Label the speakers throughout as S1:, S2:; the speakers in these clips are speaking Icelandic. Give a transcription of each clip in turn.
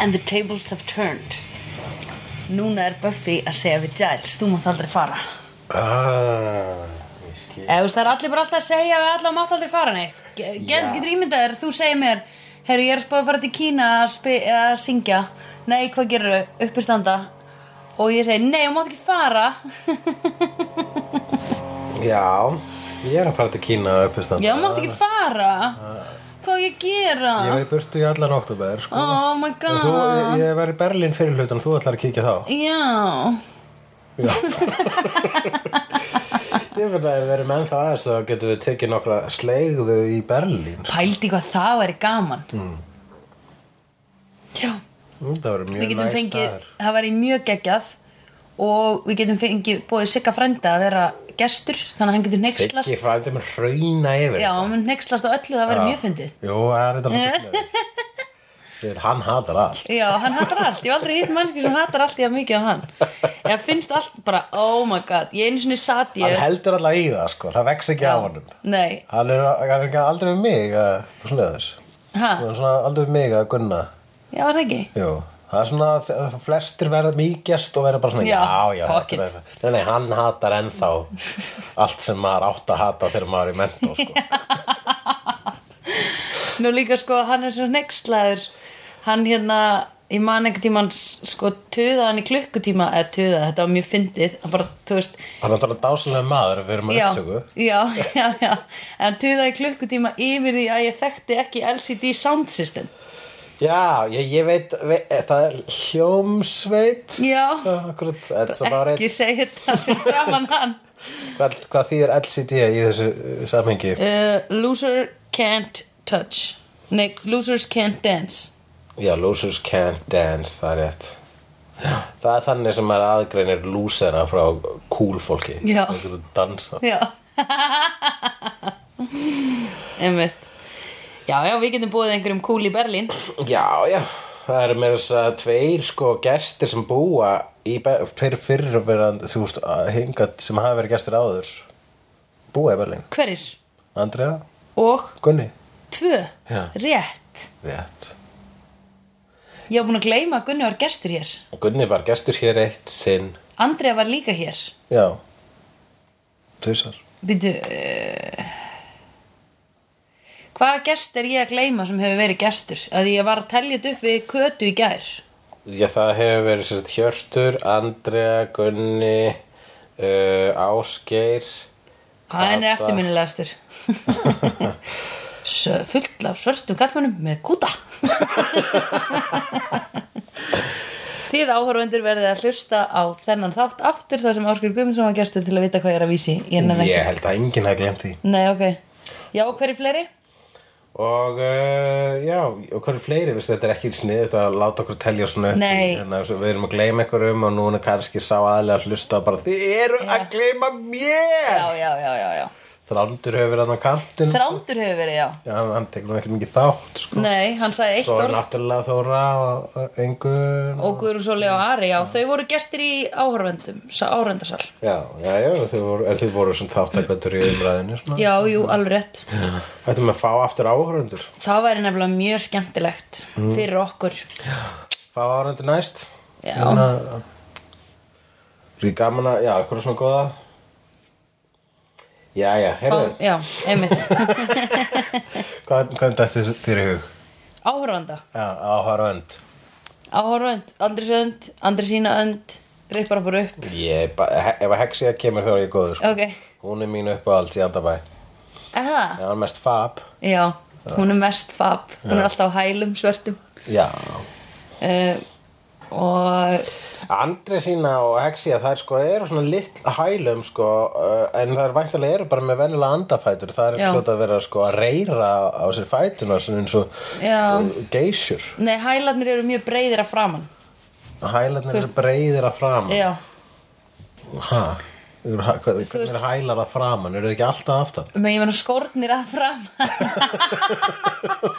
S1: and the tables have turned Núna er Buffy að segja við Giles Þú mátt aldrei fara
S2: Ah, ég skil.
S1: Eða þú veist, það er allir bara alltaf að segja við alla og mátt aldrei fara neitt Ge- Get,
S2: Já.
S1: Getur ímyndað þér, þú segir mér Herru, ég er spáð að fara til Kína að, spi, að syngja Nei, hvað gerirðu? Uppistanda Og ég segi, nei, þú mátt ekki fara
S2: Já, ég er að fara til Kína upp í standa.
S1: Já, þú mátt ekki fara Hvað á ég að gera?
S2: Ég var í burtu í allan oktober, sko.
S1: Oh my
S2: En Þú,
S1: god
S2: ég- ég var í Berlín fyrir hlutan, þú ætlar að kíkja þá.
S1: Já
S2: Já. ég veit að ef við erum ennþá aðeins þá getum við tekið nokkra sleigðu í Berlín.
S1: Pældi hvað það væri gaman Já
S2: Mm, Það verður
S1: við
S2: mjög
S1: getum
S2: næst
S1: fengið,
S2: staðar.
S1: það væri mjög geggjað og við getum fengið bóðið Sigga frænda að vera gestur þannig að hann getur
S2: Siggi
S1: neykslast
S2: frændi með hrauna yfir.
S1: já, hann mun neykslast á öllu, það væri mjög fyndið
S2: Jú, það er þetta náttúrulega sniður. Hann hatar allt.
S1: já, hann hatar allt, ég hef aldrei hitt mannski sem hatar allt í að mikið á hann ég finnst allt bara, oh my god ég einu sinni sat
S2: Hann
S1: ég
S2: heldur alltaf í það, sko. Það vex ekki á honum.
S1: nei,
S2: Hann er, hann er ekki aldrei við mig að svona þess.
S1: ha,
S2: Hann er svona aldrei við mig að gunna.
S1: já, var það ekki
S2: Jú. Það er svona að að flestir verða mýkjast og verða bara svona,
S1: Já,
S2: já, já,
S1: fuck
S2: þetta er- Nei, nei, hann hatar ennþá allt sem maður átt að hata þegar maður er í mentó, sko.
S1: Nú líka sko, hann er svo neykslaður Hann hérna, ég man einhvern tímann s- sko, tuða hann í klukkutíma eða tuða, þetta var mjög fyndið hann bara, þú veist,
S2: Hann er náttúrulega dásalega maður ef við erum að
S1: já,
S2: upptöku.
S1: já, já, já en tuða í klukkutíma yfir því að ég þekkti ekki LCD sound system
S2: Já, ég, ég veit, veit, það er hljómsveit.
S1: Já.
S2: Það er akkurat, þetta sem var
S1: ekki segja þetta fyrir framann hann
S2: Hvað, hvað þýðir LCD í þessu uh, samhengi?
S1: uh, Loser can't touch Nei, losers can't dance
S2: Já, losers can't dance, það er rétt. Það er þannig sem maður aðgreinir lúsera frá cool fólki.
S1: Já.
S2: Það getur dansa.
S1: Já Einmitt Já, já, við getum búið einhverjum kúl í Berlín
S2: Já, já. Það eru meira þess að tveir sko gestir sem búa í Be- tveir fyrirverandi, þú veist, að hingað sem hafa verið gestir áður. Búa í Berlín.
S1: Hverir?
S2: Andrea,
S1: Og
S2: Gunni.
S1: tvö
S2: Já.
S1: Rétt
S2: Rétt.
S1: Ég var búin að gleyma að Gunni var gestur hér
S2: Gunni var gestur hér eitt sinn.
S1: Andrea var líka hér
S2: Já. Tvisar.
S1: Býtu uh, Hvaða gest er ég að gleyma sem hefur verið gestur? Að ég var að telja þetta upp við kötu í gær
S2: Já, það hefur verið sérst Hjörtur, Andrea, Gunni, uh, Ásgeir.
S1: Hann er
S2: Kata.
S1: eftirminnilegastur Sö- Fullt af svörtum kallmannum með kúta Þið áhörvendur verðið að hlusta á þennan þátt aftur þar sem Áskur Guðmundsson var gestur til að vita hvað ég er að vísi Ég nenni ekki
S2: Ég held að enginn hafi glemt því.
S1: Nei, ok. Já, og hverju fleiri?
S2: Og uh, já, og hvað er fleiri, veist, þetta er ekki sniðut að láta okkur telja svona upp.
S1: Nei.
S2: Þannig að svo við erum að gleyma ykkur um og núna kannski sá aðlega að hlusta bara þið eru að gleyma mér.
S1: Já, já, já, já, já.
S2: Þrándur hefur verið hann á kantinn.
S1: Þrándur hefur verið, já.
S2: Já, hann, hann tekur nú ekkert mikið þátt, sko.
S1: Nei, hann sagði eitt
S2: Svo er
S1: orð
S2: náttúrulega Þóra og og Ingun.
S1: og Guðrún Sóli og Ari, já. Þau voru gestir í áhörvendum, áhörvendarsal.
S2: Já, já, já, þau voru, er þau voru sem þáttakvöndur í umræðinu, svona.
S1: Já, jú, alveg rétt.
S2: Þetta með að fá aftur áhörundur
S1: Það væri nefnilega mjög skemmtilegt fyrir okkur.
S2: Fá áhörundur næst
S1: Já.
S2: Rík Hérna, gaman að, já, hvað er svona góða Já, já,
S1: Fá,
S2: heyrðu
S1: já, einmitt.
S2: Hvað, hvað er þetta þér í hug?
S1: Áhörvenda.
S2: Já, áhörund
S1: Áhörvend, Andris önd, Andrisína önd, rippar bara upp.
S2: Ég, er bara- he- ef að heksið kemur þá er ég góður sko.
S1: Ok.
S2: Hún er mín uppáhalds í andabæ
S1: Eða?
S2: Já, hann er mest fab
S1: Já, hún er mest fab. Hún er alltaf á hælum, svörtum.
S2: Já
S1: Uh, og
S2: Andri sína og Hexia það er sko eru svona litt hælum sko uh, en það er væntalega eru bara með venjulega andafætur
S1: Já.
S2: það er hljóta að vera sko að reyra á sér fætuna svona eins og
S1: Já.
S2: og geysjur
S1: Nei, hælarnir eru mjög breyðir að framann
S2: hælarnir eru breyðir að framan
S1: Já,
S2: ha, eru, hæ- hvað- hvernig er hælar að framan eru þeir ekki alltaf aftan
S1: menn ég menn skórnir að framann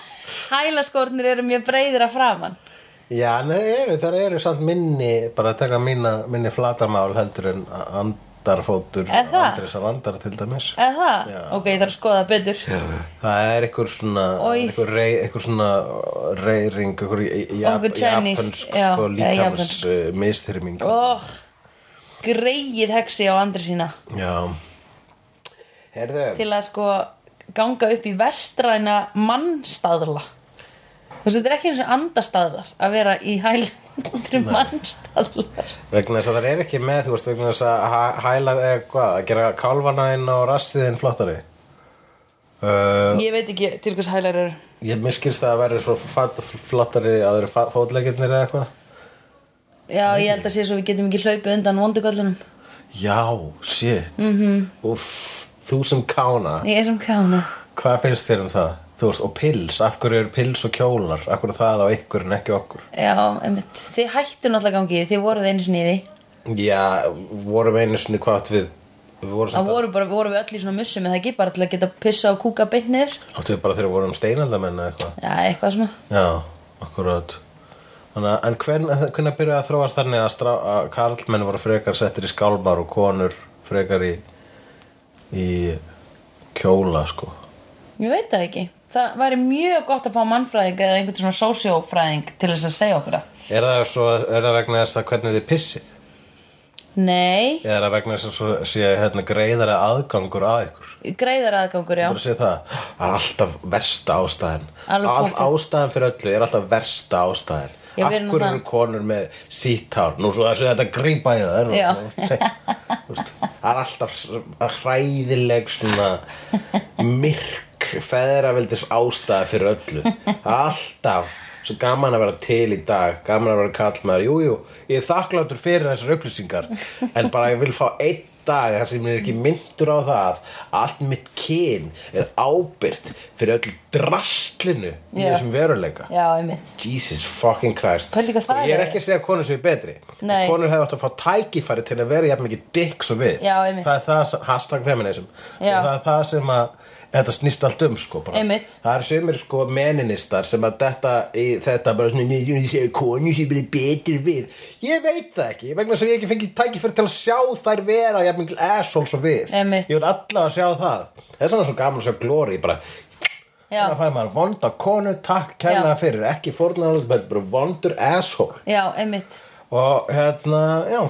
S1: Hælaskórnir eru mjög breyðir að framann
S2: já en þeir eru, þeir eru samt minni bara að taka minna, minni flatarmál heldur en a- and, randarfótur
S1: Er það?
S2: Andresa randar til dæmis
S1: Eða það?
S2: Já.
S1: Ok, ég þarf að skoða það betur.
S2: Það er einhver svona
S1: Oj.
S2: einhver, rey, einhver svona reyring einhver jap,
S1: Einhver Chinese,
S2: japansk
S1: já,
S2: sko,
S1: eða
S2: líkams uh, mistyrming
S1: Oh, greið hegsi á andri sína
S2: Já Herðu,
S1: til að sko ganga upp í vestræna mannstaðla. Þú veist, þetta er ekki eins og andastaðlar að vera í hælundri mannstaðlar.
S2: vegna þess að það er ekki með þú veist, vegna þess að hæ- hælar eða hvað, að gera kálfanaðinn og rastiðinn flottari uh,
S1: Ég veit ekki til hvers hælar eru.
S2: Ég miskilst að það verður svo fat- flottari að það eru fa- fótleggirnir eða eitthvað
S1: Já, ég held að sé svo við getum ekki hlaupið undan vonduköllunum.
S2: Já, shit mm -hmm. Úff, þú sem kána
S1: Ég er sem kána.
S2: Hvað finnst þér um það? Þú veist, og pils, af hverju eru pils og kjólar? Af hverju er það á ykkur en ekki okkur?
S1: Já, einmitt. Þið hættu náttúrulega gangið, þið voruð einu sinni í því.
S2: Já, vorum einu sinni hvað átt við Við vorum
S1: Það
S2: samt
S1: voru bara, voru við öll í svona mussum eða ekki, bara til að geta pissa og kúka beint niður.
S2: að Áttu við bara þegar við vorum steinaldamenn eða eitthvað
S1: Já, eitthvað svona.
S2: Já, akkurat Þannig að, en hvern, hvernig byrjaði að þróast þannig að, strá, að karlmenn voru frekar settir í skálmar og konur frekar í í kjóla, sko
S1: Ég veit það ekki. Það væri mjög gott að fá mannfræðing eða einhvern svona sósiófræðing til þess að segja okkur það.
S2: Er það, svo, er það vegna þess að hvernig þið pissið?
S1: Nei,
S2: Eða er það vegna þess að svo sé hérna greiðara aðgangur að ykkur?
S1: greiðar aðgangur, já.
S2: Það er að segja það, það er alltaf versta ástæðan
S1: Alveg
S2: All,
S1: pottþétt.
S2: Ástæðan fyrir öllu er alltaf versta ástæðan
S1: Já, við
S2: Af
S1: erum
S2: hverju
S1: það.
S2: eru konur með sítt hár Nú svo þessu þetta grípa í það
S1: Já.
S2: Þú veist, Það er alltaf hræðileg svona myrk feðraveldis ástæða fyrir öllu Það er alltaf svo gaman að vera til í dag gaman að vera kallmaður, jú, jú ég er þakkláttur fyrir þessar upplýsingar en bara ég vil fá einn dag þar sem ég er ekki myndur á það að allt mitt kyn er ábyrt fyrir öllu drastlinu í
S1: Já.
S2: þessum veruleika
S1: Já, einmitt.
S2: Jesus fucking Christ
S1: Pældi hvað það
S2: Og ég er
S1: er.
S2: ekki að segja að konur séu betri
S1: Nei.
S2: konur hefði átt að fá tækifæri til að vera jafn mikið dick svo við
S1: Já, einmitt.
S2: það er það, sem- hashtag feminism
S1: Já.
S2: og það er það sem að þetta snýst allt um sko bara.
S1: Einmitt.
S2: það er sömur sko meninistar sem að detta í þetta bara svona "Nei, ég sé konu sem er betri við ég veit það ekki, vegna þess að ég ekki fengi tækifæri til að sjá þær vera jafn mikil assholes og við
S1: Einmitt.
S2: ég vil allavega sjá það það er svona svo gaman að sjá glóri bara
S1: Já,
S2: Það fær maður vonda konu, takk kærlega
S1: Já.
S2: fyrir, ekki fórnaður, bara vondur asshole.
S1: já, einmitt.
S2: Og hérna, já,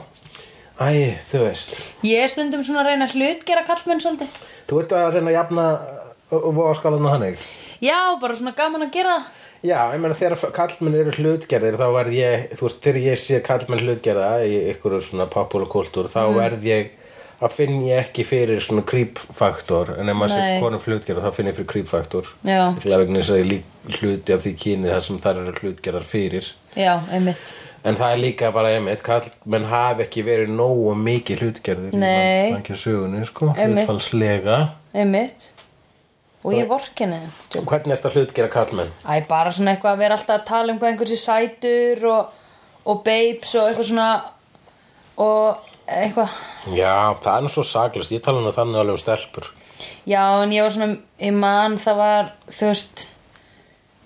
S2: æ, þú veist,
S1: Ég er stundum svona að reyna að hlutgera kallmenn svolítið.
S2: þú ert að reyna að jafna uh, og voða skalan hann ekki.
S1: Já, bara svona gaman að gera það.
S2: Já, ég meina þegar kallmenn eru hlutgerðir þá verð ég, þú veist, þegar ég sé kallmenn hlutgerða í ykkur svona populakultúr þá
S1: Mm.
S2: verð ég, þá finn ég ekki fyrir svona creep-faktor en ef maður sé
S1: Nei.
S2: konum hlutgerða þá finn ég fyrir creep-faktor
S1: Já.
S2: Líklega vegna þess að ég lík hluti af því kyni þar sem þar eru hlutgerðar fyrir
S1: Já, einmitt.
S2: En það er líka bara einmitt, kallmenn hafi ekki verið nógu mikið hlutgerðir
S1: Nei.
S2: Það er ekki sögunni, sko,
S1: Einmitt.
S2: hlutfalslega
S1: Einmitt. Og ég vorkenni þeim.
S2: Hvernig ertu að hlutgera kallmenn?
S1: Æ, bara svona eitthvað að vera alltaf að tala um hvað einhversi sætur og, og babes og eitthvað svona og eitthvað
S2: Já, það er nú svo saklist, ég tala nú þannig alveg um stelpur
S1: Já, en ég var svona, ég man það var, þú veist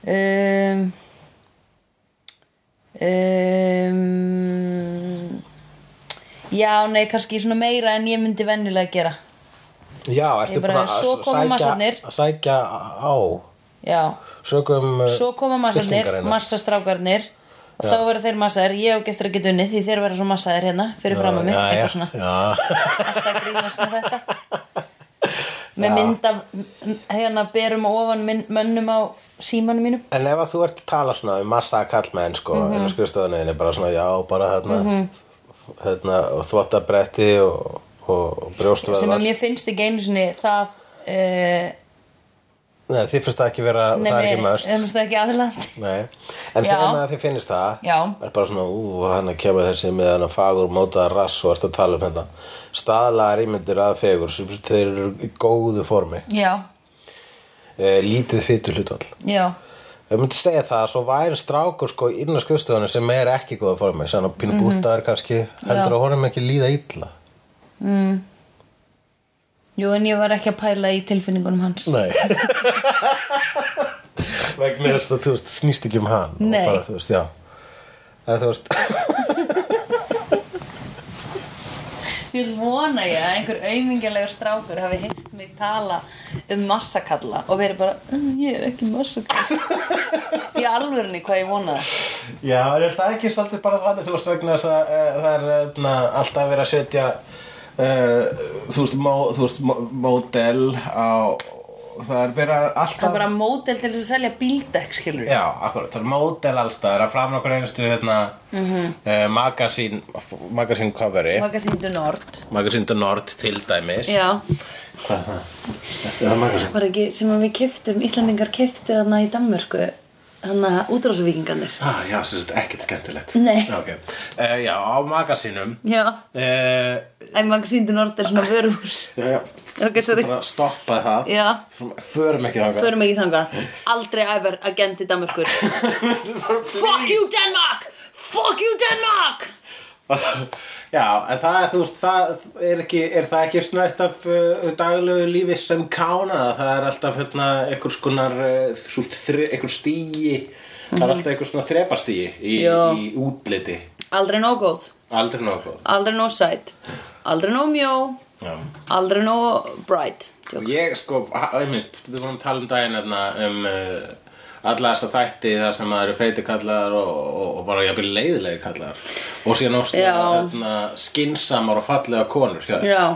S1: um, um, Já, nei, kannski svona meira en ég myndi venjulega gera
S2: Já, ertu
S1: Ég bara,
S2: búin að
S1: svo koma massarnir.
S2: sækja, sækja á
S1: Já,
S2: Sökum uh,
S1: svo koma massarnir,
S2: byltingarinnar.
S1: massastrákarnir og þá verða þeir massaðir, ég á geftur að geta unnið því þeir verða svo massaðir hérna fyrir fram að mig,
S2: Já,
S1: eitthvað
S2: já,
S1: svona
S2: já
S1: alltaf að grínast með þetta með mynd af n- hérna berum og ofan minn, mönnum á símanum mínum
S2: En ef að þú ert að tala svona um massa kallmenn sko,
S1: Mhm.
S2: mm -hmm. en skrifstofunniðinni bara svona já, bara hérna, hérna og þvottabretti og, og, og
S1: sem
S2: brjóstvöðvar
S1: að mér finnst ekki einu sinni það uh,
S2: Nei, þið finnst það ekki vera, það er ekki möst
S1: nefnist það eh, ekki aðland
S2: Nei, en
S1: Já.
S2: sem að þið finnist það
S1: Já.
S2: er bara svona, ú, hann að kemur þessi með hann að fagur mótaða rass og erst að tala um hérna staðlaðar ímyndir að fegur sem þeir eru í góðu formi
S1: já,
S2: e, lítið fytu hlutvall
S1: já,
S2: Ég myndi segja það að svo væri strákur sko inn á skrifstofunni sem er ekki góða formi sem að
S1: Mhm.
S2: pínu bútaður kannski heldur að honum ekki líða illa
S1: jú en ég var ekki að pæla í tilfinningunum hans
S2: Nei Vegna þess að þú veist, snýst ekki um hann og
S1: Nei.
S2: bara, Þú veist, já Eða þú veist
S3: Ég vona ég að einhver aumingjalegur strákur hafi heyrt mig tala um massakalla og verið bara, "Mm, ég er ekki massakalla. Í alvörunni hvað ég vona það.
S2: Já, er það ekki svolítið bara þannig þú veist vegna þess að uh, það er na, alltaf verið að setja uh, þú veist, mó, þú veist mó, módel á það er verið að alltaf
S3: Það er bara mótel til þess að selja bíldekk, skilur við.
S2: Já, akkurat, það er módel allstaðar að framna okkur einstu hérna, mm
S3: Mhm.
S2: -hmm. uh, magasín, magasín coveri
S3: Magasin du Nord.
S2: magasín til Nord til dæmis
S3: Já.
S2: Hvað er það? Þetta er magasín
S1: Var ekki sem að við kiftum, Íslandingar kiftu þarna í Danmörku, þarna útrásavíkingarnir.
S2: ah, Já, sem sagt, ekkert skemmtilegt
S1: Nei.
S2: okay. uh, Já, á magasínum
S1: Já.
S2: uh,
S1: Æ, Magasín du Nord er svona vöruhús.
S2: Já,
S1: Ok, sorry.
S2: bara stoppa það
S1: Já.
S2: Förum ekki þangað
S1: Förum ekki þangað. Aldrei æver agent í Danmörkur. Fuck you Denmark! Fuck you Denmark!
S2: Já, en það, er, þú veist, það er ekki, er það ekki snögt af uh, daglegu lífi sem kána það? Það er alltaf hérna, einhvers konar, uh, þú veist, þre- einhver stígi, það er alltaf einhvers svona þrepastígi í,
S1: Mhm. Já.
S2: í útliti.
S1: Aldrei nóg góð.
S2: Aldrei nokkuð.
S1: Aldrei nóg sætt. Aldrei nóg mjó.
S2: Já.
S1: Aldrei nóg bright.
S2: Og ég, sko, ha- einmitt, við vorum að tala um daginn hérna, um uh, alla þessa þætti þar sem það eru feiti kallar og, og, og bara jafnvel leiðilegi kallar. Og síðan óslega
S1: Já.
S2: hérna, skinsamar og fallega konur hjá þeim.
S1: Já.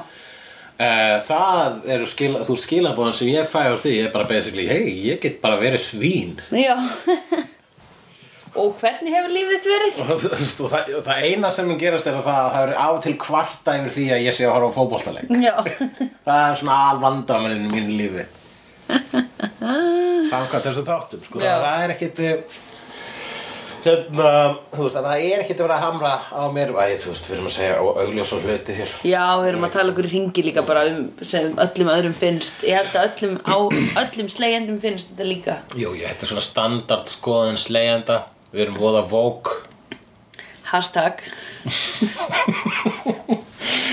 S2: Uh, það eru skila, þú skilabóðan sem ég fæ á því er bara basically, hei, ég get bara verið svín
S1: Já. Og hvernig hefur lífið þitt verið?
S2: og, þú veist, og það, og það eina sem mun gerast er að það, það eru á til kvarta yfir því að ég sé að horfa á fótboltaleik
S1: Já.
S2: það er svona alvandamurinn í mínu lífi samkvæmt þessu þáttum sko,
S3: Já.
S2: það er ekkit eh, hérna, þú veist, að það er ekkit að vera að hamra á mér, æ, þú veist, við erum að segja augljós og hluti hér
S1: Já, við erum að tala okkur í ringi líka bara um sem öllum öðrum finnst. Ég held að öllum, á, öllum slegjendum finnst þetta líka.
S2: Jú, ég, þetta er svona standard skoðun slegjanda við erum voða vók
S1: Hashtag.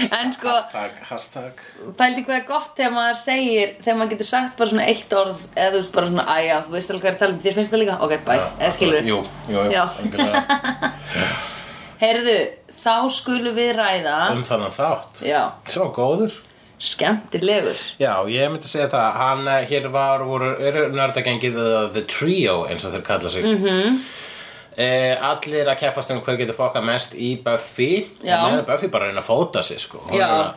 S1: en sko,
S2: Hashtag, hashtag
S1: pældi hvað er gott þegar maður segir, þegar maður getur sagt bara svona eitt orð eða þú veist bara svona, æja, þú veist alveg hvað er að tala um, þér finnst þetta líka? Ok, bye, eða skilur
S2: Jú, jú, jú
S1: Já.
S2: algjörlega.
S1: Heyrðu, þá skulum við ræða,
S2: Um þannig þátt
S1: já,
S2: Svo góður
S1: skemmtilegur.
S2: Já, ég myndi segja það, hann eh, hér var, voru, eru nördagengið eða The Trio eins og þeir kalla sig mm
S1: Mhm.
S2: -hmm. Allir að keppast um hver getur fokkað mest í Buffy
S1: Já.
S2: En er Buffy bara að reyna að fóta sig sko Hún er
S1: Já.
S2: að reyna-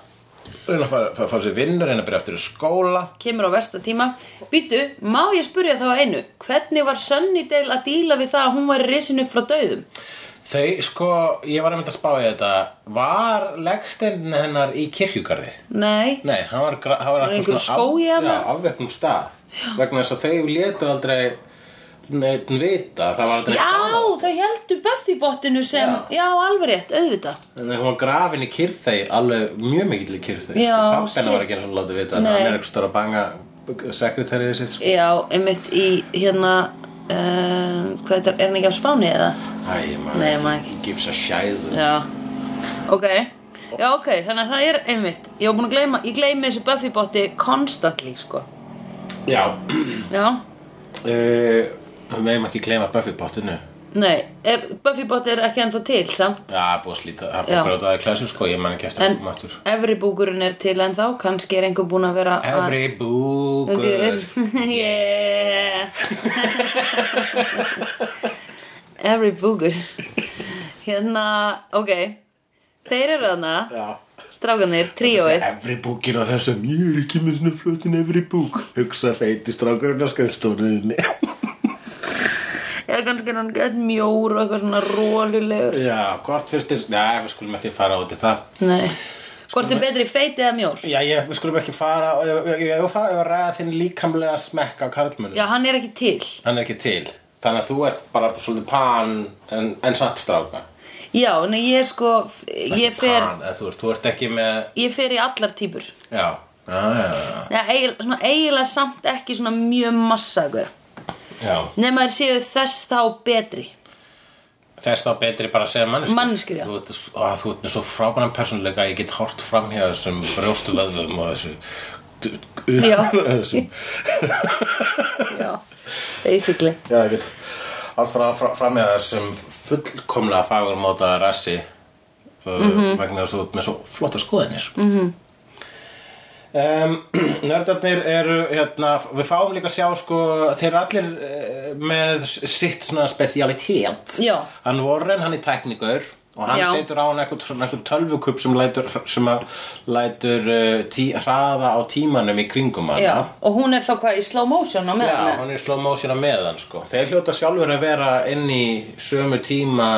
S2: Reyna að fara- fara- fara sér vinnur, reyna að byrja aftur í skóla
S1: kemur á versta tíma Býtu, má ég spurja þá að einu Hvernig var Sunnydale að díla við það að hún var risin upp frá dauðum?
S2: Þau, sko, ég var að mynda að spá í þetta Var leggstinn hennar í kirkjugarði?
S1: Nei,
S2: Nei, hann var, gra- hann var
S1: Var
S2: eitthvað
S1: einhver
S2: svona
S1: skógi
S2: af,
S1: þarna?
S2: já, afvekkum stað vegna þess að þau létu aldrei neitt vita það var aldrei
S1: já,
S2: staðar.
S1: þau heldur Buffy bottinu sem Já,
S2: Já.
S1: alveg rétt, auðvitað
S2: en hún var grafin í kyrþei alveg mjög mikill í kyrþei
S1: Já,
S2: pappenna
S1: shit.
S2: var ekki eins og látið vita en
S1: Nei.
S2: hann er eitthvað að banga sekretærið sitt sko.
S1: Já, einmitt í hérna um, Hvað þetta, er hann ekki á Spáni eða?
S2: Æ, maður,
S1: Nei, maður.
S2: he gives a shize
S1: Já, ok Já, ok, þannig að það er einmitt Ég var búin að gleyma, ég gleymi þessu Buffy botti constantly, sko
S2: já,
S1: Já,
S2: Eh, við meðum ekki gleyma Buffy pottinu
S1: nei, er, Buffy botti er ekki ennþá til, samt
S2: Já, búið að slíta, það er
S1: Já.
S2: bara grátaði klæsum sko, ég man ekki eftir
S1: En
S2: að koma aftur
S1: efri búkurinn er til en þá, kannski er einhver búinn að vera að...
S2: Every búkur
S1: yeah Every búkur Hérna, ok Þeir eru þarna
S2: Já
S1: Strákanir, tríóið
S2: Efri búkin á þessum, ég er ekki með svona flötin efri búk Hugsa feiti strákurinn á skamstóriðinni
S1: Já, kannski er hann gett mjór og eitthvað svona rólulegur
S2: Já, hvort fyrstir, já, við skulum ekki fara út í það
S1: Nei Hvort er betri feiti eða mjór?
S2: Já, ég, við skulum ekki fara, ég, ég, ég, ég fara ef að ræða þinn líkamlega smekk á karlmönu
S1: Já, hann er ekki til
S2: Hann er ekki til, þannig að þú ert bara svolítið pan en, en satt stráka
S1: Já, en ég sko, ég
S2: Ekki
S1: fer,
S2: Pan, en þú veist, þú ert ekki með,
S1: ég fer í allar típur
S2: já, já, já,
S1: Já, eigin, svona eiginlega samt ekki svona mjög massa ykkur.
S2: já, já
S1: Nefn að þeir séu þess þá betri.
S2: Þess þá betri bara að segja manneskjur
S1: Manneskjur, já.
S2: Þú ert, að, þú ert með svo frábæran persónuleika að ég get hort fram hjá þessum brjóstu vöðum og þessu d- d-
S1: Já.
S2: þessum
S1: Já, basically.
S2: Já, ég get hort fram, fram, fram hjá þessum fullkomlega fagurmóta rassi
S1: Mhm.
S2: -hmm. vegna þess að þú ert með svo flotta skoðanir mm -hmm. Nördarnir eru hérna, við fáum líka að sjá sko, þeir eru allir eh, með sitt svona specialitet
S1: Já.
S2: hann Warren, hann er teknikur og hann
S1: Já.
S2: setur á hann eitthvað svona eitthvað tölvukup sem lætur, sem að lætur uh, tí, hraða á tímanum í kringum hann
S1: Já, og hún er þá hvað í slow motion á meðan
S2: Já,
S1: eða?
S2: hann er í slow motion að meðan sko. Þeir hljóta sjálfur að vera inn í sömu tíma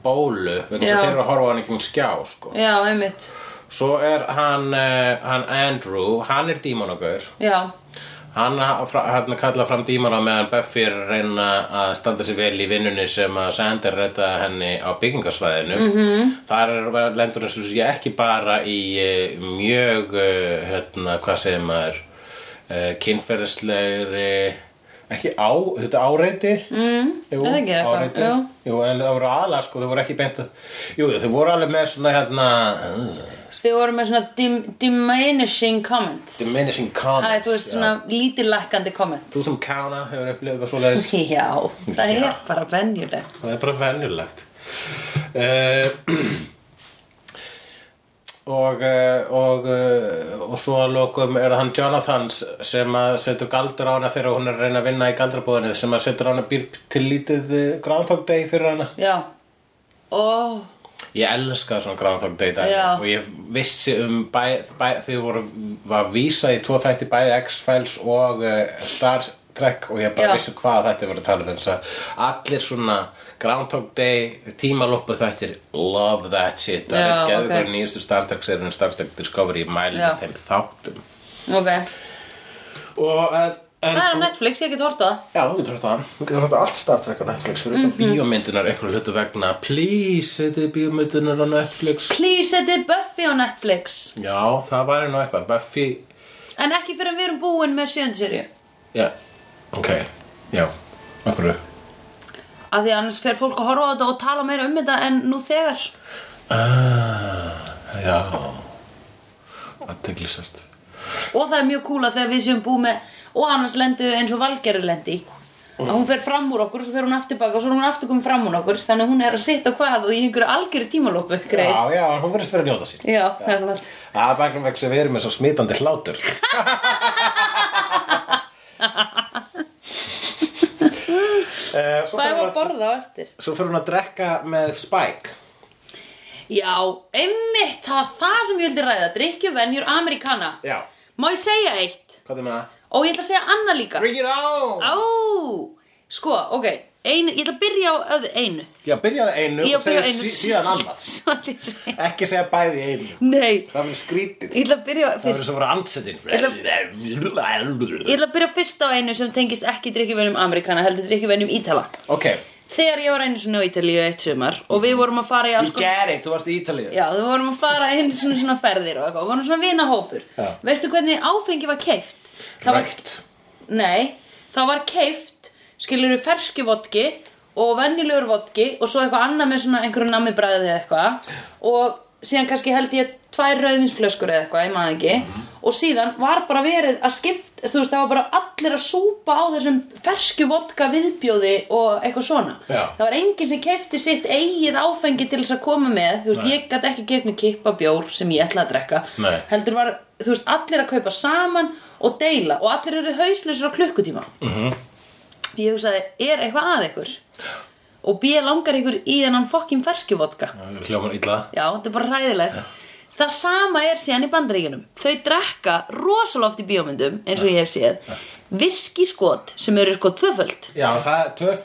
S2: bólu vegna þess
S1: Já.
S2: að þeir eru að horfa á hann ekki um skjá sko.
S1: Já, einmitt
S2: Svo er hann, uh, hann Andrew, hann er dímonogaur
S1: Já,
S2: Hann ha- fra- hérna kallar fram dímona meðan Buffy er að reyna að standa sér vel í vinnunni sem að Sander redda henni á byggingarsvæðinu. -hmm.
S1: Mhm.
S2: Þar er bara- lendur þessu sé ekki bara í eh, mjög, eh, hérna, hvað segir maður, uh, kynferðislegri, ekki á, þetta áreiti? Mm, jú,
S1: er það ekki eitthvað?
S2: áreiti.
S1: Jú.
S2: Jú, en það voru aðlega, sko, þau voru ekki beint að, jú, þau voru alveg með svona, hérna, uh,
S1: þið voru með svona dim, diminishing comments
S2: diminishing comments.
S1: Það er, þú veist, svona lítillækkandi comment
S2: Þú sem kána hefur upplifað svo leiðis.
S1: Já, það
S2: Já.
S1: er bara venjulegt
S2: Það er bara venjulegt uh, og, eh, og, eh, og svo að lokum er hann Jonathans sem að setur galdur á hana þegar hún er að reyna að vinna í galdrabúðinni sem að setur á hana býr til lítið eh, Groundhog Day fyrir hana
S1: Já Ó,
S2: Ég elskaði svona Groundhog Day dæmi
S1: Já.
S2: og ég vissi um bæ, bæ, þegar voru var vísað í tvo þætti bæði X-Files og uh, Star Trek og ég bara
S1: Já.
S2: vissi hvað þetta voru að tala um þess að allir svona Groundhog Day tímaloppu þættir love that shit það
S1: Já,
S2: er geður
S1: ok.
S2: okay. nýjustu Star Trek serið en Star Trek Discovery mæli
S1: Já.
S2: með þeim þáttum
S1: ok
S2: og en, en
S1: Það er á Netflix, ég get hort á það
S2: Já, þú getur þetta Þú getur þetta allt Star Trek á Netflix fyrir
S1: Mhm.
S2: mm bíómyndunar eitthvað hlutu vegna Please, þetta er bíómyndunar á Netflix
S1: Please, þetta er Buffy á Netflix
S2: Já, það væri nú eitthvað Buffy,
S1: En ekki fyrir en við erum búin með sjöndsýrju
S2: já, ok Já, okkur
S1: Af því að annars fer fólk að horfa á þetta og tala meira um þetta en nú þegar
S2: ah, Já Aðteglisvært
S1: Og það er mjög cool að þegar við séum búið með Og annars lendu eins og Valgerður lendi í. Að hún fer fram úr okkur, svo fer hún aftur baka Og svo er hún aftur komið fram úr okkur Þannig að hún er að sitta hvað og í einhverju algjöru tímalópu greið
S2: Já, já, hún verðist verið að njóta sín
S1: Já, nefnilega
S2: Það er bæknum vegna sem við erum með svo smitandi hlátur Eh, Svo
S1: Hvað
S2: fer
S1: er
S2: hún
S1: að
S2: að-
S1: borða á eftir?
S2: svo fer hún að drekka með Spike
S1: Já, einmitt, það var það sem ég vildi ræða Drykkjuvenjur Amerikana
S2: Já,
S1: Má ég segja eitt?
S2: hvað er með það?
S1: Og ég ætla að segja annað líka
S2: Bring it on!
S1: Á, sko, ok einu, Ég ætla að byrja á öðu einu
S2: Já, byrjaði einu
S1: Ég
S2: og
S1: byrja á
S2: segja
S1: einu
S2: sí- síðan annað
S1: Svo ætla ég að segja
S2: Ekki segja bæði í einu
S1: Nei,
S2: Það verður skrítið
S1: ég ætla að byrja á-
S2: Það
S1: fyrst
S2: verður svo að vera ansettin
S1: Ég ætla að byrja fyrst á einu sem tengist ekki drikkjuvenjum Amerikana, heldur drikkjuvenjum Ítala.
S2: Ok,
S1: Þegar ég var einu sinni á Ítalíu eitt sumar og við vorum að fara í alls
S2: you get it, þú varst í Ítalíu
S1: Já, við vorum að fara einu sinni svona ferðir og eitthvað og vorum svona vinahópur.
S2: Já.
S1: Veistu hvernig áfengi var keift?
S2: Rögt
S1: Var, nei, það var keift, skilur við ferski vodki og venjulegur vodki og svo eitthvað annað með svona einhverju namibræði eða eitthvað og síðan kannski held ég tvær rauðinsflöskur eða eitthvað, ég maður ekki og síðan var bara verið að skipt þú veist, það var bara allir að súpa á þessum fersku vodka viðbjóði og eitthvað svona
S2: Já.
S1: það var enginn sem keifti sitt eigið áfengi til þess að koma með þú veist, ég gæti ekki keift með kippabjór sem ég ætla að drekka
S2: Nei.
S1: heldur var, þú veist, allir að kaupa saman og deila og allir eru hauslausir á klukkutíma mm
S2: Mhm.
S1: -hmm. ég hugsaði, er eitthvað að ykkur og B langar ykkur í þennan fokkin ferskjuvodka
S2: Hljóman illa
S1: já, þetta er bara ræðilegt það sama er síðan í bandaríkinum þau drekka rosalega oft í bíómyndum eins og ég hef séð viskiskot sem eru sko tvöföld
S2: Já, það er tvöf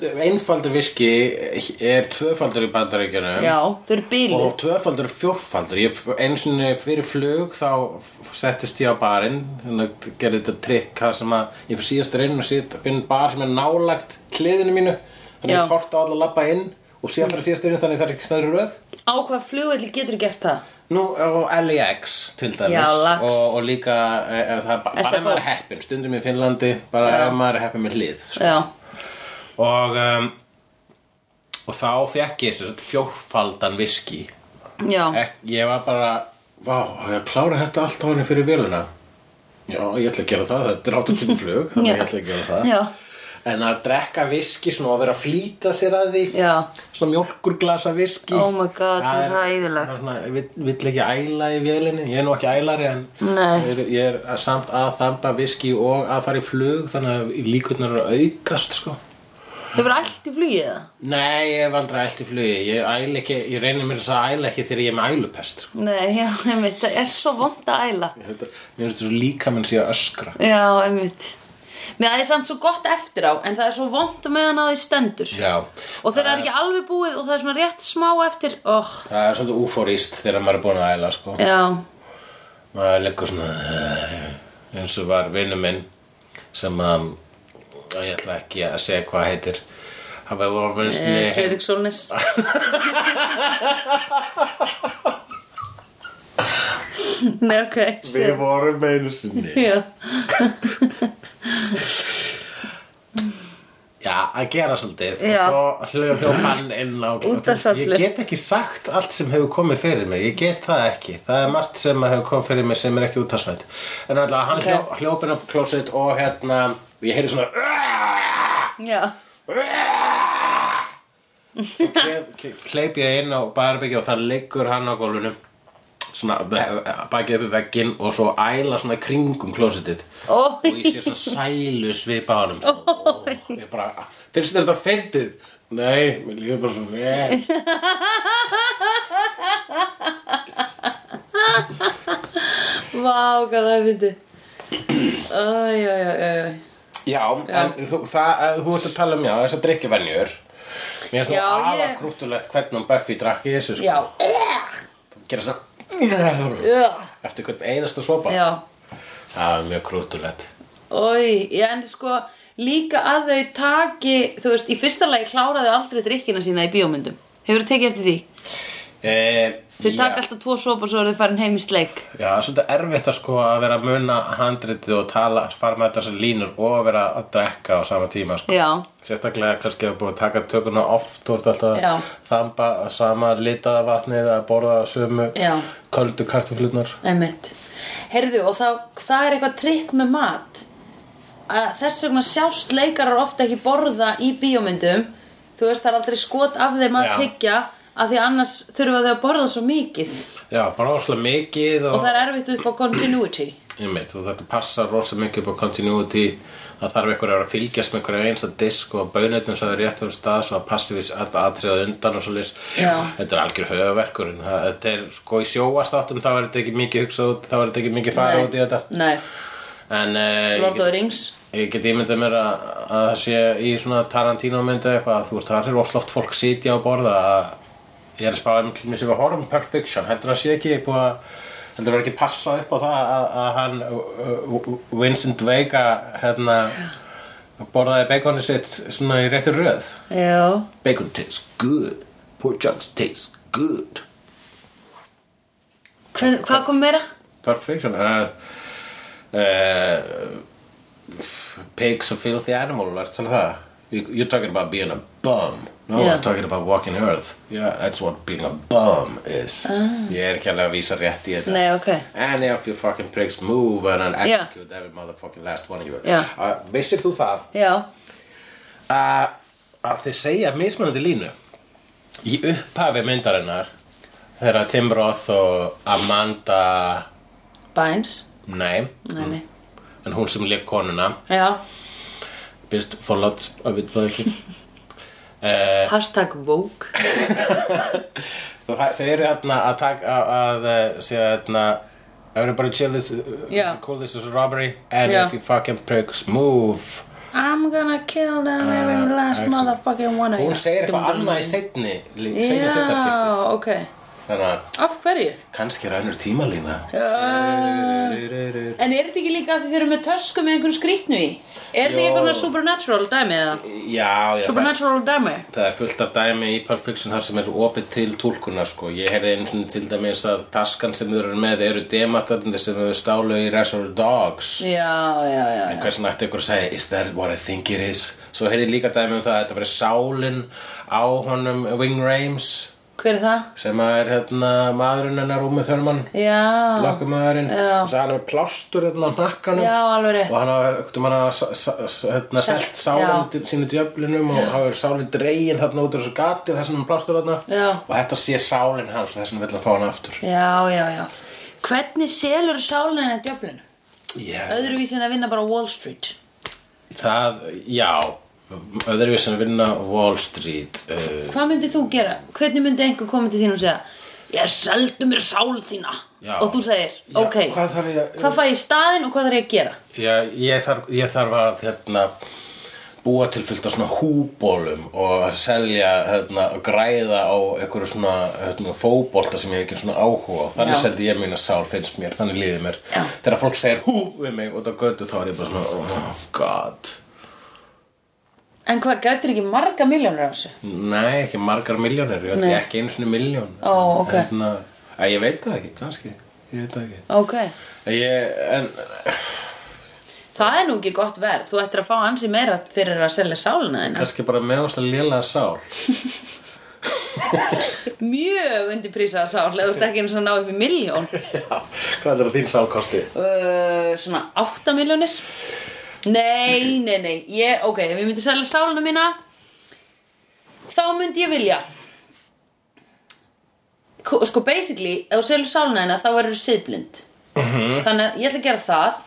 S2: Einfaldur viski er tvöfaldur í bandaríkjunum
S1: já, þau eru bílu
S2: Og tvöfaldur er fjórfaldur ég, Einu sinni fyrir flug þá f- settist ég á barinn Þannig að gerði þetta trikk Það sem að ég fyrir síðast inn og síðast finn bar sem er nálagt hliðinu mínu Þannig að
S1: Já.
S2: ég horta á alla að labba inn Og síðan fyrir síðast inn þannig að það er ekki stæðri röð
S1: á hvað flugvelli getur gert það
S2: Nú, og LAX til dæmis
S1: Já, lax.
S2: og, og líka e, e, það er ba- bara
S1: SFO.
S2: ef maður er heppin, stundum í Finnlandi bara ef maður er heppin með hlið sko.
S1: já,
S2: og um, og þá fekk ég þess að fjórfaldan viski
S1: já,
S2: Ek, ég var bara vá, á ég að klára þetta allt á henni fyrir véluna já, ég ætla að gera það þetta er 8 tíma flug, þannig
S1: Já.
S2: ég ætla að gera það
S1: já
S2: en að drekka viski svona og vera að flýta sér að því
S1: Já.
S2: svona mjólkurglasa viski
S1: Oh my god, það er hræðilegt.
S2: það er svona, ég vill- vill ekki æla í vélinni ég er nú ekki ælari en
S1: Nei.
S2: ég er, ég er að- samt að þamba viski og að fara í flug þannig að líkurnar eru að aukast sko
S1: Hefur allt í flugið það?
S2: Nei, ég hef aldrei ælt í flugi Ég, æl ekki, ég reynir mér þess að æla ekki þegar ég er með ælupest sko.
S1: Nei, já, einmitt, það er svo vond að æla
S2: Ég held að- Mér finnst þessu líka minn sé að öskra
S1: Já, einmitt Mér það er samt svo gott eftir á En það er svo vond meðan að því stendur
S2: Já,
S1: Og þeir eru ekki alveg búið og það er svona rétt smá eftir oh,
S2: það er svolítið úfóríst þegar maður er búin að æla sko.
S1: Já,
S2: maður liggur svona eins og var vinnu minn sem að að ég ætla ekki að segja hvað heitir hann var ofinu
S1: eh,
S2: sinni
S1: Friðrik Solnes Nei, ok
S2: við
S1: segðu.
S2: vorum einu sinni
S1: Já,
S2: já, að gera svolítið
S1: Já.
S2: og svo hljóð hljóð hann inn á
S1: Út af söllu.
S2: ég get ekki sagt allt sem hefur komið fyrir mig ég get það ekki, það er margt sem hefur komið fyrir mig sem er ekki út af svætt en alltaf hann
S1: Ok.
S2: okay. hljóð hljópin upp klósit og hérna, ég heyri svona
S1: já,
S2: hleyp ég inn á barbeki og það liggur hann á gólfinu svona eh, bakið upp í vegginn og svo æla svona í kringum klósitið
S1: Ó.
S2: og ég sé svona sælu svipa á hann oh. ég bara, finnst þér þetta fyndið? Nei, mér líður bara svo vel
S1: vá, hvað það er fyndi Æ, já, já, já, já
S2: Já, en þú, það, eh, þú ert að tala um já, þessar drikkjuvenjur Mér
S1: Já,
S2: er svona
S1: ég-
S2: alveg krúttulegt hvernig hún Buffy drakk í þessu sko
S1: Já,
S2: Gera svona
S1: já,
S2: Eftir hvern einasta svopa
S1: já.
S2: Það er mjög krúttulegt
S1: Ói, já, en sko líka að þau taki, þú veist, í fyrsta lagi klára þau aldrei drikkina sína í bíómyndum. Hefur þau tekið eftir því?
S2: Eh,
S1: Þau
S2: já.
S1: taka alltaf tvo sopa svo eru þau farin heim í sleik.
S2: Já, það er svolítið erfitt að sko að vera að muna handritið og tala, fara með þessar línur og vera að drekka á sama tíma sko.
S1: Já,
S2: Sérstaklega kannski að búið að taka tökuna oft og alltaf
S1: Já.
S2: að þamba sama litaða vatnið að borða sömu
S1: Já.
S2: köldu kartuflutnar.
S1: einmitt. Heyrðu, og þá, það er eitthvað trikk með mat. Að þess vegna sjást leikarar ofta ekki borða í bíómyndum. Þú veist, það er aldrei skot af þeim að
S2: Já.
S1: tyggja að því annars þurfa þau að borða svo mikið.
S2: Já, bara óslega mikið og,
S1: Og það er erfitt upp á continuity.
S2: ég meit, þú þetta passa rosa mikið upp á continuity það þarf einhver að vera að fylgjast með einhverja einsta disk og bönetnum svo það er rétt um stað svo að passi við all atriðað undan og svo list
S1: Já.
S2: þetta er algjör höfuverkur þetta er sko í sjóastáttum þá er þetta ekki mikið hugsað út þá er þetta ekki mikið farið út í þetta
S1: Nei,
S2: en uh, ég,
S1: Lord of
S2: get,
S1: the Rings.
S2: ég get ímyndað mér að, að það sé í svona Tarantino myndið eitthvað þú veist það er rosa oft fólk sitja á borða að ég er að spáða um til mér sem við horfum Pulp Fiction heldur það sé ekki búið að heldur það ekki passa upp á það að, að hann uh, uh, Vincent Vega hérna borðaði baconi sitt svona í réttu röð
S1: Já.
S2: Bacon tastes good Pork chunks tastes good
S1: Hvað, hvað kom meira?
S2: Pulp Fiction uh, uh, Pigs a filthy animal Ertu að tala um það? You, you're talking about being a bum No,
S1: Yeah.
S2: I'm talking about walking earth Yeah, that's what being a bum is Ég er ekki alveg að vísa rétt í þetta
S1: Ah. Nei, ok.
S2: Any of you fucking pricks move and I'll
S1: Yeah.
S2: execute every motherfucking last one of you
S1: Yeah.
S2: uh, Vissir þú það
S1: Já,
S2: uh, að þið segja mismunandi línu í upphafi myndarinnar þegar Tim Roth og Amanda
S1: Bynes.
S2: nei,
S1: Nei, nei.
S2: en hún sem leik konuna
S1: Já,
S2: byrst forláts að við það ekki Eh,
S1: hashtag Vogue.
S2: þau þau eru hérna að taka að, að eh, segja hérna everybody chill this uh,
S1: Já.
S2: call this is a robbery and
S1: Já.
S2: if you fucking pricks move
S1: I'm gonna kill them every
S2: Uh,
S1: last
S2: actually.
S1: motherfucking one of you.
S2: hún segir eitthvað annað í setni segni
S1: Já,
S2: setna skipti
S1: ok.
S2: þannig að
S1: Af hverju?
S2: kannski er önnur tímalína Eh,
S1: En er þetta ekki líka að þið eru með tösku með einhverjum skrýtnu í? Er þetta ekki
S2: Jó.
S1: eitthvað svona supernatural dæmi eða?
S2: já, já það-
S1: Supernatural dæmi?
S2: Það er fullt af dæmi í Pulp Fiction þar sem er opið til tólkunar sko. Ég heyrði einu sinni til dæmis að taskan sem þau eru með eru dematarnir sem þau stálu í Reservoir Dogs.
S1: Já, já, já.
S2: En hversu nætti ykkur að segja, is that what I think it is? Svo heyrði ég líka dæmi um það að þetta verið sálin á honum Wing Rames.
S1: Hver er það?
S2: sem að er hérna maðurinn hennar Rúmi Þörmann
S1: Já
S2: blakkumæðurinn
S1: Já.
S2: og hann er með plástur hérna á nakkanum
S1: Já, alveg rétt
S2: og hann hafði einhvern veginn að sa- sa- sa- hérna,
S1: Selt,
S2: selt
S1: já.
S2: sálinn sínu djöflinum og hafði sálinn dregin þarna út úr þessu gati þar sem hann plástur þarna
S1: Já.
S2: og þetta sé sálinn hans og þess vegna vill hann fá hann aftur
S1: Já, já, já Hvernig selur sálinn að djöflinu?
S2: yeah.
S1: Öðruvísi en að vinna bara á Wall Street
S2: það, já öðruvís að vinna á Wall Street uh,
S1: Hvað myndið þú gera? Hvernig myndi einhver koma til þín og segja Ég seldu mér sál þína
S2: Já.
S1: Og þú segir,
S2: Já,
S1: ok
S2: hvað þarf ég að-
S1: Hvað fæ ég í staðinn og hvað þarf ég að gera?
S2: já, ég, þarf, ég þarf að hérna, búa til fullt af svona húbólum og að selja hérna, að græða á einhverju svona hérna, fóbolta sem ég hef ekki svona áhuga á þannig
S1: Já.
S2: seldi ég mína sál finnst mér, þannig líði mér
S1: Já.
S2: þegar fólk segir hú við mig og það götu þá er ég bara svona oh god
S1: En hvað, grættur ekki marga miljónur á þessu?
S2: nei, ekki margar miljónir, ég
S1: Nei.
S2: held ég ekki einu svona miljón
S1: Ó, ok.
S2: hérna, að ég veit það ekki, kannski ég veit það ekki
S1: Ok
S2: ég, en,
S1: Það er nú ekki gott verð, þú ættir að fá ansi meira fyrir að selja sálina þína
S2: kannski bara meðvarslega lélega sál
S1: Mjög undirprísað sál, eða þú ert ekki eins og ná upp í miljón
S2: Já, hvað er þín sálkosti?
S1: uh, Svona 8 miljónir Nei, nei, nei, ég, ok, ef ég myndi selja sálina mína Þá myndi ég vilja Ko- Sko, basically, ef þú selur sálina þína, þá verður siðblind -hmm. Þannig að ég ætla að gera það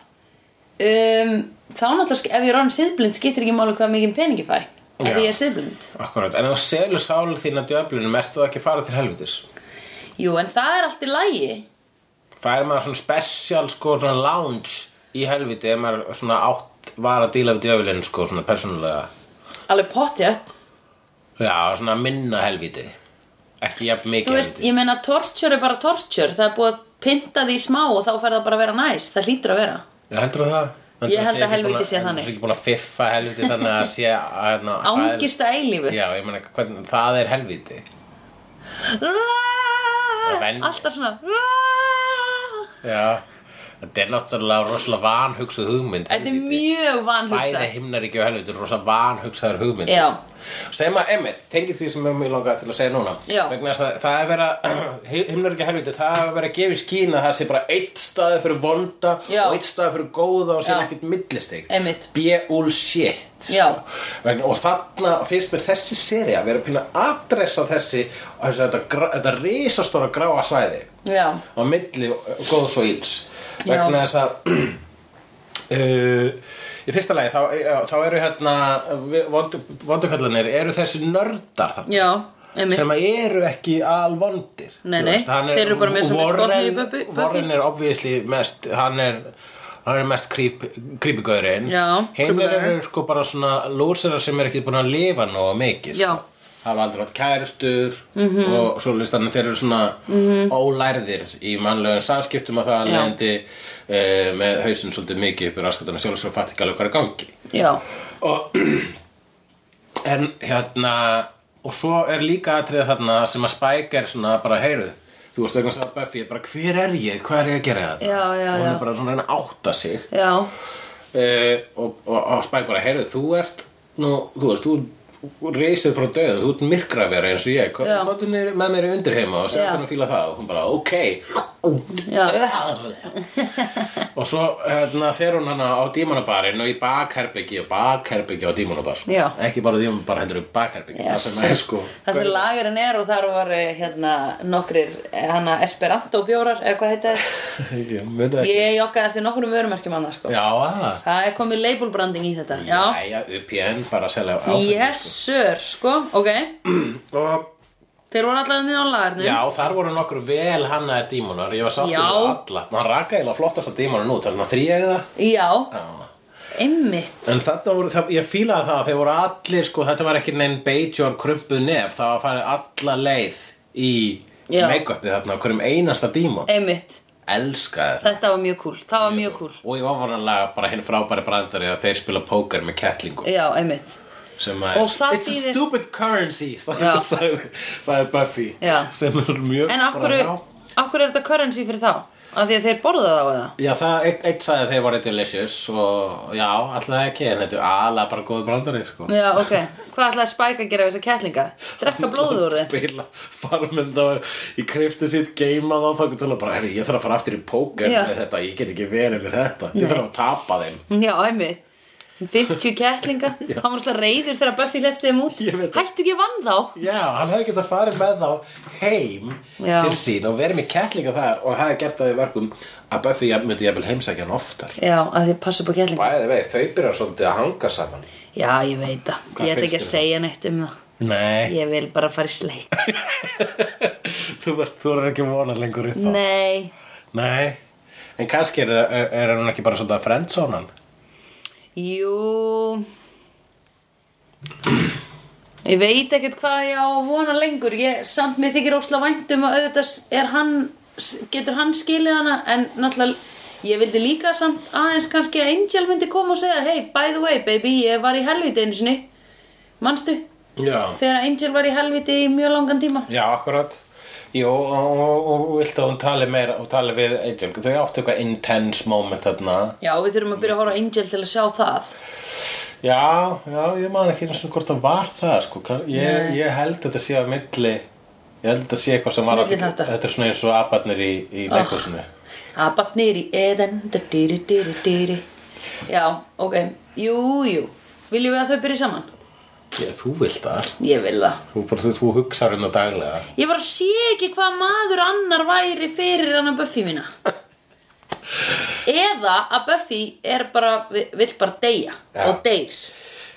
S1: um, Þá náttúrulega, sk- ef ég er orðin siðblind, skiptir ekki máli hvað mikið peningi fæ af
S2: Já.
S1: Því ég er siðblind
S2: Akkurat, en ef þú selur sál þína djöflunum, ertu það ekki að fara til helvitis?
S1: Jú, en það er allt í lægi
S2: Fær maður svona special, sko, svona lounge í helviti ef maður svona átt var að díla við djöflun, sko, svona persónulega
S1: Alveg pottjött
S2: Já, svona minna helviti Ekki jafn
S1: Þú
S2: mikið
S1: veist, ég meina torture er bara torture Það er búið að pynta því smá og þá fer það bara að vera næs Það hlýtur að vera
S2: Já, heldur það?
S1: Ég held að helvíti sé
S2: Það
S1: þannig.
S2: er ekki búin að fiffa helviti þannig að sé að- hérna, að-
S1: Ángist að eilífu
S2: Já, ég meina, hvernig, það er helviti
S1: Rá,
S2: venj-
S1: Alltaf svona rá.
S2: Já, þetta er náttúrulega rosalega vanhugsuð hugmynd
S1: Þetta er
S2: helvíti.
S1: mjög vanhugsa
S2: bæði himnaríki og helviti rosalega vanhugsaðar hugmynd
S1: Já.
S2: sem að, emmi, tengir því sem ég langaði til að segja núna
S1: Já.
S2: vegna þess að það er vera himnaríki og helviti, það er vera að gefa í skín að það sé bara eitt staði fyrir vonda
S1: Já.
S2: og eitt staði fyrir góða og sem
S1: Já.
S2: ekkert millistig
S1: Einmitt.
S2: bullshit
S1: Já.
S2: sko. vegna, og þarna finnst mér þessi seri að vera að pýna að adressa þessi þessi- þetta, gra- þetta risastóra gráa svæði
S1: Já,
S2: á milli góðs og íls
S1: Já.
S2: vegna þess að uh, í fyrsta lagi þá, já, þá eru hérna vondukallanir eru þessi nördar þarna
S1: já, einmitt
S2: sem að eru ekki alvondir
S1: Nei,
S2: þú
S1: nei,
S2: veist, hann er-
S1: þeir eru bara með svona
S2: Warren-
S1: skornir í Buffy- Buffy.
S2: Warren er obviously mest hann er, hann er mest creepygöðurinn
S1: Já,
S2: heimir
S1: creepygaurinn.
S2: eru sko bara svona lúsera sem er ekki búin að lifa nóg mikið
S1: Já. Mhm.
S2: sko. hafa aldrei átt kærustur -hmm. og svo listann þeir eru svona -hmm. ólærðir í mannlegum samskiptum að það
S1: Já.
S2: lendi uh, með hausinn svolítið mikið upp í raskatunum sjálfsög og fatt ekki alveg hvað er í gangi
S1: Já,
S2: og en hérna og svo er líka aðtriða þarna sem að Spike er svona bara heyruð þú veist vegna þess að Buffy er bara hver er ég, hvað er ég að gera þetta
S1: Já, já,
S2: og hún
S1: já.
S2: er bara svona að reyna að átta sig uh,
S1: já,
S2: og, og, og Spike bara heyruð þú ert, nú, þú veist þú reysir frá döðu, þú ert myrkra vera eins og ég,
S1: Já.
S2: hvað er með mér í undirheima og segja
S1: Já.
S2: hvernig að fíla það og hún bara ok
S1: já
S2: og svo hérna, fer hún hana á dímanabarinn og í bakherbyggi og bakherbyggi á dímanabar
S1: Já.
S2: ekki bara dímanabar heldur í bakherbyggi
S1: Yes.
S2: það sem er sko
S1: Það sem lagurinn er og þar var eh, hérna nokkrir, eh, hana Esperanto bjórar, eða hvað heita þér?
S2: ég myndi ekki
S1: Ég joggaði eftir nokkrum vörummerkjum annað sko.
S2: já, aða
S1: Það er komið label branding í þetta. Já.
S2: Jæja, upp í enn bara að selja áfengi
S1: Yes, sir, sko. Ok.
S2: og,
S1: Þeir voru allavega niður á lagarnum.
S2: Já, þar voru nokkur vel hannaðir dímonar Ég var sáttur
S1: Já.
S2: við alla Man raka eiginlega flottast að dímonan út Þannig að þrýja það
S1: Já,
S2: Já
S1: einmitt.
S2: En þarna voru, það, ég fílaði það að þeir voru allir, sko, þetta var ekki neinn beitjór krumpuð nef, það var að fara alla leið í
S1: Já.
S2: make-upið þarna, á hverjum einasta dímon.
S1: Einmitt.
S2: Elskaði það.
S1: Þetta var mjög cool. Það var mjög cool.
S2: Og ég var voranlega bara hinn frábæri brandari að þeir spila póker með kettlingu
S1: Já, einmitt.
S2: sem að
S1: Og það
S2: It's
S1: þýðir-
S2: a stupid currency,
S1: Já.
S2: sagði- sagði sagði Buffy
S1: Já.
S2: sem er mjög
S1: En af
S2: bara,
S1: hverju,
S2: já.
S1: af hverju er þetta currency fyrir þá? Af því að þeir borða þá eða?
S2: Já, það, einn ein sagði að þeir voru delicious og já, alltaf ekki, en þetta er alveg bara góð brandari, sko.
S1: Já, ok. Hvað ætlaði Spike að gera við þessa kettlinga? Drekka blóð úr þeim?
S2: Spila farmynd á, í krifti sitt, geima þá, þá til að bara, herri, ég þarf að fara aftur í póker
S1: Já.
S2: með þetta, ég get ekki verið með þetta, ég þarf að tapa þeim.
S1: Já, æmi. 50 kettlinga. Hann var slá reyður þegar Buffy lefti þeim út.
S2: Ég veit það.
S1: Hættu ekki vann þá.
S2: Já, hann hefði getað farið með þá heim
S1: Já.
S2: til sín og verið með kettlinga þar og hefði gert það í verkum að Buffy jafn- myndi jafnvel heimsækja hann oftar.
S1: Já, að þið passa upp á kettlinga.
S2: Bæði vei, þau byrjar svolítið að hanga saman.
S1: Já, ég veit það.
S2: Hvað
S1: Ég ætla ekki að
S2: finnst þér?
S1: segja neitt um það.
S2: Nei,
S1: Ég vil bara fara í sleik.
S2: þú verður þú verður ekki vona lengur upp á.
S1: Nei.
S2: Nei, en kannski er, er, er hann ekki bara svolítið að friendzone hann
S1: Jú. Ég veit ekkert hvað ég á að vona lengur. Ég, samt mér þykir ósla væntum að auðvitað er hann, getur hann skilið hana en náttúrulega ég vildi líka samt aðeins kannski að Angel myndi koma og segja Hey, by the way baby, ég var í helviti einu sinni. Manstu?
S2: Já,
S1: Þegar Angel var í helviti í mjög langan tíma.
S2: já, akkurat Jú, og, og, og vilt að hún tali meira og tali við Angel, þau áttu eitthvað intense moment þarna
S1: Já, við þurfum að byrja að horfa á Angel til að sjá það.
S2: Já, já, ég man ekki eins og hvort það var það sko. Kann- ég,
S1: Nei.
S2: ég held þetta sé að milli Ég held þetta sé eitthvað sem var að
S1: Milli þetta.
S2: Þetta er svona eins og abarnir í, í
S1: Ah.
S2: leikúsinu
S1: Abbat nýri eðan da dýri dýri dýri Já, ok, jú, jú Viljum við að þau byrja saman?
S2: ég, Þú vilt það
S1: Ég vil það
S2: Þú, bara, þú, þú hugsar hérna daglega
S1: Ég bara sé ekki hvað maður annar væri fyrir hann að Buffy mína Eða að Buffy er bara, vill bara deyja
S2: Já.
S1: og deyr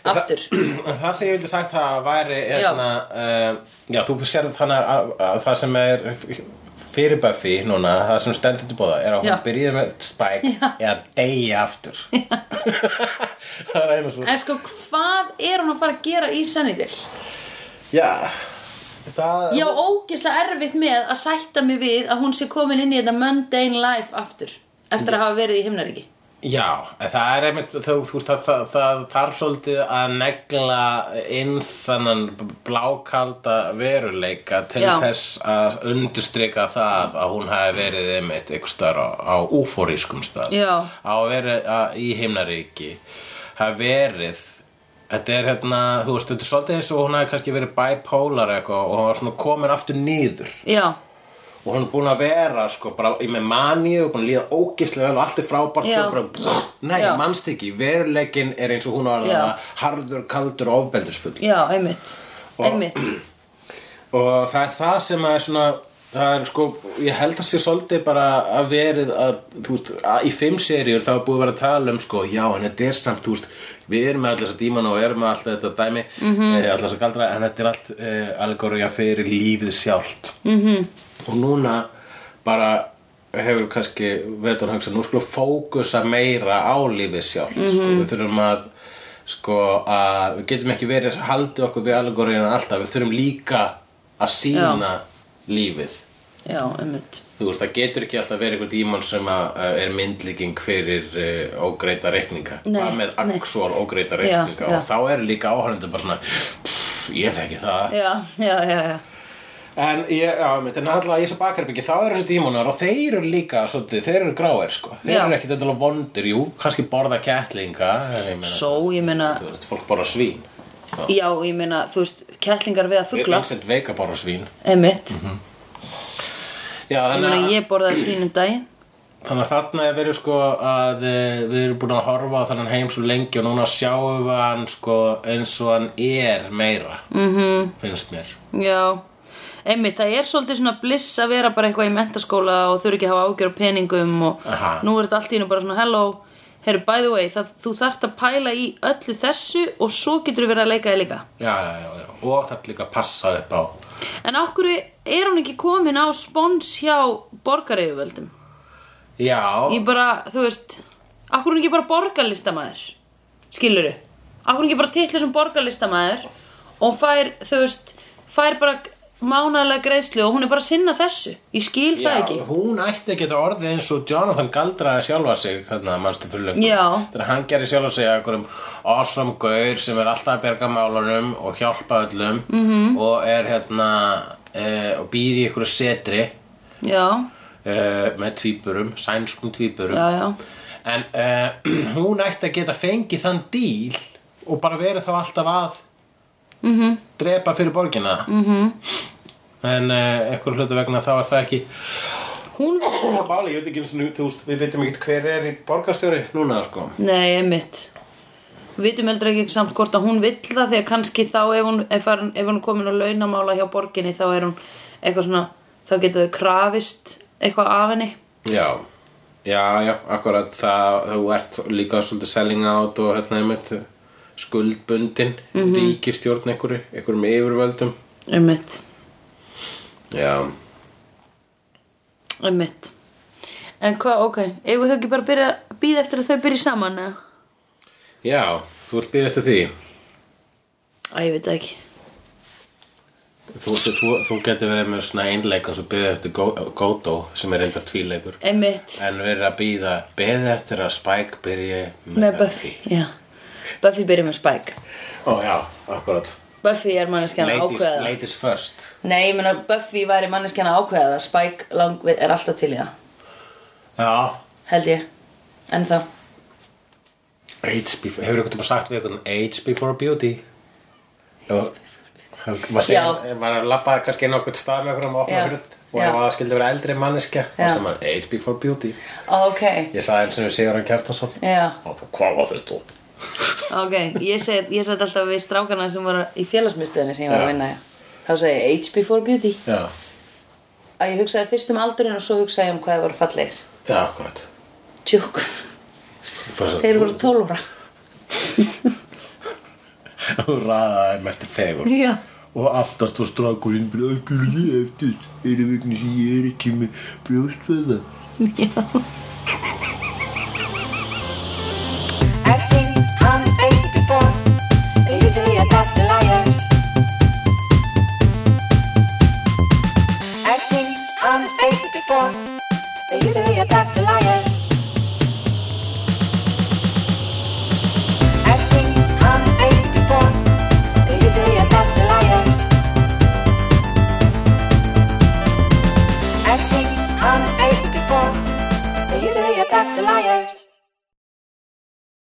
S1: aftur
S2: En það sem ég vildi sagt það væri
S1: Já.
S2: hérna, uh, já, þú sérð þannig að, að það sem er fyrir Buffy núna, það sem stendur til bóða er að hún
S1: Já.
S2: byrjaði með Spike eða deyja aftur það er einu svo
S1: En sko, hvað er hún að fara að gera í Sunnydale?
S2: já, það
S1: Ég á ógislega erfitt með að sætta mig við að hún sé komin inn í þetta mundane life aftur eftir að hafa verið í himnaríki
S2: Já, en það er einmitt, þú, þú, það, það, það þarf svolítið að negla inn þannan blákalda veruleika til
S1: Já.
S2: þess að undirstrika það að hún hafi verið einmitt einhver staðar á, á úfórískum stað
S1: Já.
S2: á að vera að, í himnaríki hafi verið þetta er hérna, þú veist, þetta er svolítið eins og hún hafi kannski verið bipolar eitthvað og hún var svona komin aftur nýður
S1: Já,
S2: og hún er búin að vera sko, bara í með maníu og búin að líða ógislega vel og allt er frábært
S1: Já.
S2: svo bara, brr, nei,
S1: Já.
S2: manst ekki, veruleikin er eins og hún var
S1: Já.
S2: það harður, kaldur og ofbeldisfull
S1: Já, einmitt,
S2: Og-
S1: einmitt.
S2: og það er það sem að er svona það er sko, ég held að sé svolítið bara að verið að, þú veist, að í fimm seríur þá er búið að vera að tala um sko, já, en þetta er samt, þú veist við erum með allir þessa dímana og erum með allt þetta dæmi mm
S1: Mhm.
S2: -hmm. allir þessa galdra, en þetta er allt e, algorja fyrir lífið sjálft -hmm. og núna bara hefur kannski vetur hann hugsað, nú skulum fókusa meira á lífið sjálft
S1: Mhm.
S2: sko, við þurfum að sko að við getum ekki verið að haldi okkur við algorina alltaf, við þurfum líka að sína lífið
S1: Já, einmitt.
S2: þú veist, það getur ekki alltaf verið einhver dímon sem að, að er myndlíking fyrir uh, ógreita reikninga
S1: Nei,
S2: það með
S1: nei.
S2: actual ógreita reikninga
S1: Já, já.
S2: og þá eru líka áhörnundur bara svona "Pff, ég þekki það
S1: Já, já, já, já.
S2: en ég, já, mitt, en alltaf í þessu bakarbyggja þá eru þessu dímonar og þeir eru líka svolítið, þeir eru gráir, sko þeir
S1: Já.
S2: eru ekkit eitthvað vondir, jú, kannski borða kettlinga en ég meina,
S1: Só, ég meina,
S2: þú veist, fólk borða svín
S1: já, ég meina, þú veist, kettlingar við að fugla,
S2: Vincent Vega borða svín
S1: einmitt.
S2: Já,
S1: Ég
S2: þannig,
S1: meina,
S2: að,
S1: ég borðaði svínum um daginn.
S2: þannig að þarna er verið sko að eh, við erum búin að horfa á þannig heim svo lengi og núna sjáum við hann sko eins og hann er meira
S1: Mhm.
S2: -hmm. finnst mér
S1: Já, einmitt, það er svolítið svona bliss að vera bara eitthvað í mentaskóla og þurfa ekki að hafa ágjör á peningum og
S2: Aha.
S1: nú er þetta allt í hennu bara svona hello, herru, by the way, það, þú þarft að pæla í öllu þessu og svo getur þú verið að leika þig líka.
S2: Já, já, já, já, og það er líka að passa upp á
S1: En okkur er hún ekki komin á spons hjá borgaryfuvöldum?
S2: Já,
S1: Ég bara, þú veist Akkur hún ekki bara borgarlistamæður Skilurðu Akkur hún ekki bara titlu sem borgarlistamæður Og hún fær, þú veist Fær bara mánaðlega greiðslu Og hún er bara að sinna þessu Ég skil það
S2: já
S1: ekki
S2: hún ætti að geta orðið eins og Jonathan galdraði sjálfa sig hérna, manstu fyrir lengur
S1: Já.
S2: þegar hann gerir sjálfa sig að einhverjum awesome gaur sem er alltaf að berga málunum og hjálpa öllum
S1: Mhm.
S2: mm -hmm. og er hérna e, og býr í einhverju setri
S1: Já,
S2: Eh, uh, með tvíburum, sænskum tvíburum
S1: Já, já.
S2: en uh, hún ætti að geta fengið þann díl og bara verið þá alltaf að
S1: Mhm.
S2: -hmm. drepa fyrir borgina -hmm. en uh, eitthvað hlutu vegna þá er það ekki
S1: Hún,
S2: Máli, ég veit ekki eins og nú, þú veist, við veitum ekki hver er í borgarstjóri núna, sko
S1: nei, einmitt Við vitum heldur ekki samt hvort að hún vill það þegar kannski þá ef hún, ef, farin, ef hún er komin á launamála hjá borginni þá er hún eitthvað svona, þá getur þau krafist eitthvað af henni
S2: Já, já, já, akkurat það, þú ert líka svolítið selling out og hérna einmitt skuldbundin,
S1: Mhm.
S2: ríkistjórn einhverju, einhverjum yfirvöldum
S1: Einmitt,
S2: Já,
S1: einmitt En hvað, ok, eigum þau ekki bara að byrja, býða eftir að þau byrja saman eða?
S2: já, þú vilt býða eftir því
S1: Æ, ég veit það ekki
S2: Þú, þú, þú, þú getur verið með svona einleik eins og býða eftir Gó- Gótó sem er reyndar tvíleikur
S1: Einmitt,
S2: en verið að býða, beðið eftir að Spike byrji
S1: með Buffy, já Buffy byrja með Spike
S2: Ó, já, akkurat
S1: Buffy er manneskjana
S2: Ladies,
S1: ákveða það.
S2: ladies first
S1: Nei, ég meina Buffy væri manneskjana ákveða það Spike lang, er alltaf til í það
S2: Já,
S1: Held ég, en þá
S2: Age before, hefur einhvern veginn sagt við einhvern Age before beauty og maður
S1: Já.
S2: segir- maður lappaði kannski inn á einhvern stað með einhverjum opna
S1: Já.
S2: hurð og
S1: Já.
S2: ef það skildi vera eldri manneskja þá
S1: Já.
S2: sem maður Age before beauty
S1: Ok,
S2: ég sagði eins og við Sigurðan Kjartansson
S1: já,
S2: og bara, hvað var þetta?
S1: ok Ég segi, ég segi alltaf við strákana sem voru í félagsmyndstöðinni sem ég var
S2: Já.
S1: að vinna í. Þá segi ég Age before beauty
S2: Já,
S1: Að ég hugsaði fyrst um aldurinn og svo hugsaði ég um hvað það voru fallegir
S2: já, akkurat
S1: Tjúk, þeir voru 12 óra
S2: Þú ræðaði með eftir fegur
S1: Já,
S2: og aftast var strákurinn bara, af hverju er ég eftir er það vegna sem ég er ekki með brjóstvöða
S4: I've seen honest faces before. They usually are past the liars. I've seen honest faces before. They usually are past the liars. I've seen honest faces before. They usually are past the liars. I've seen honest faces before. They usually are past the liars.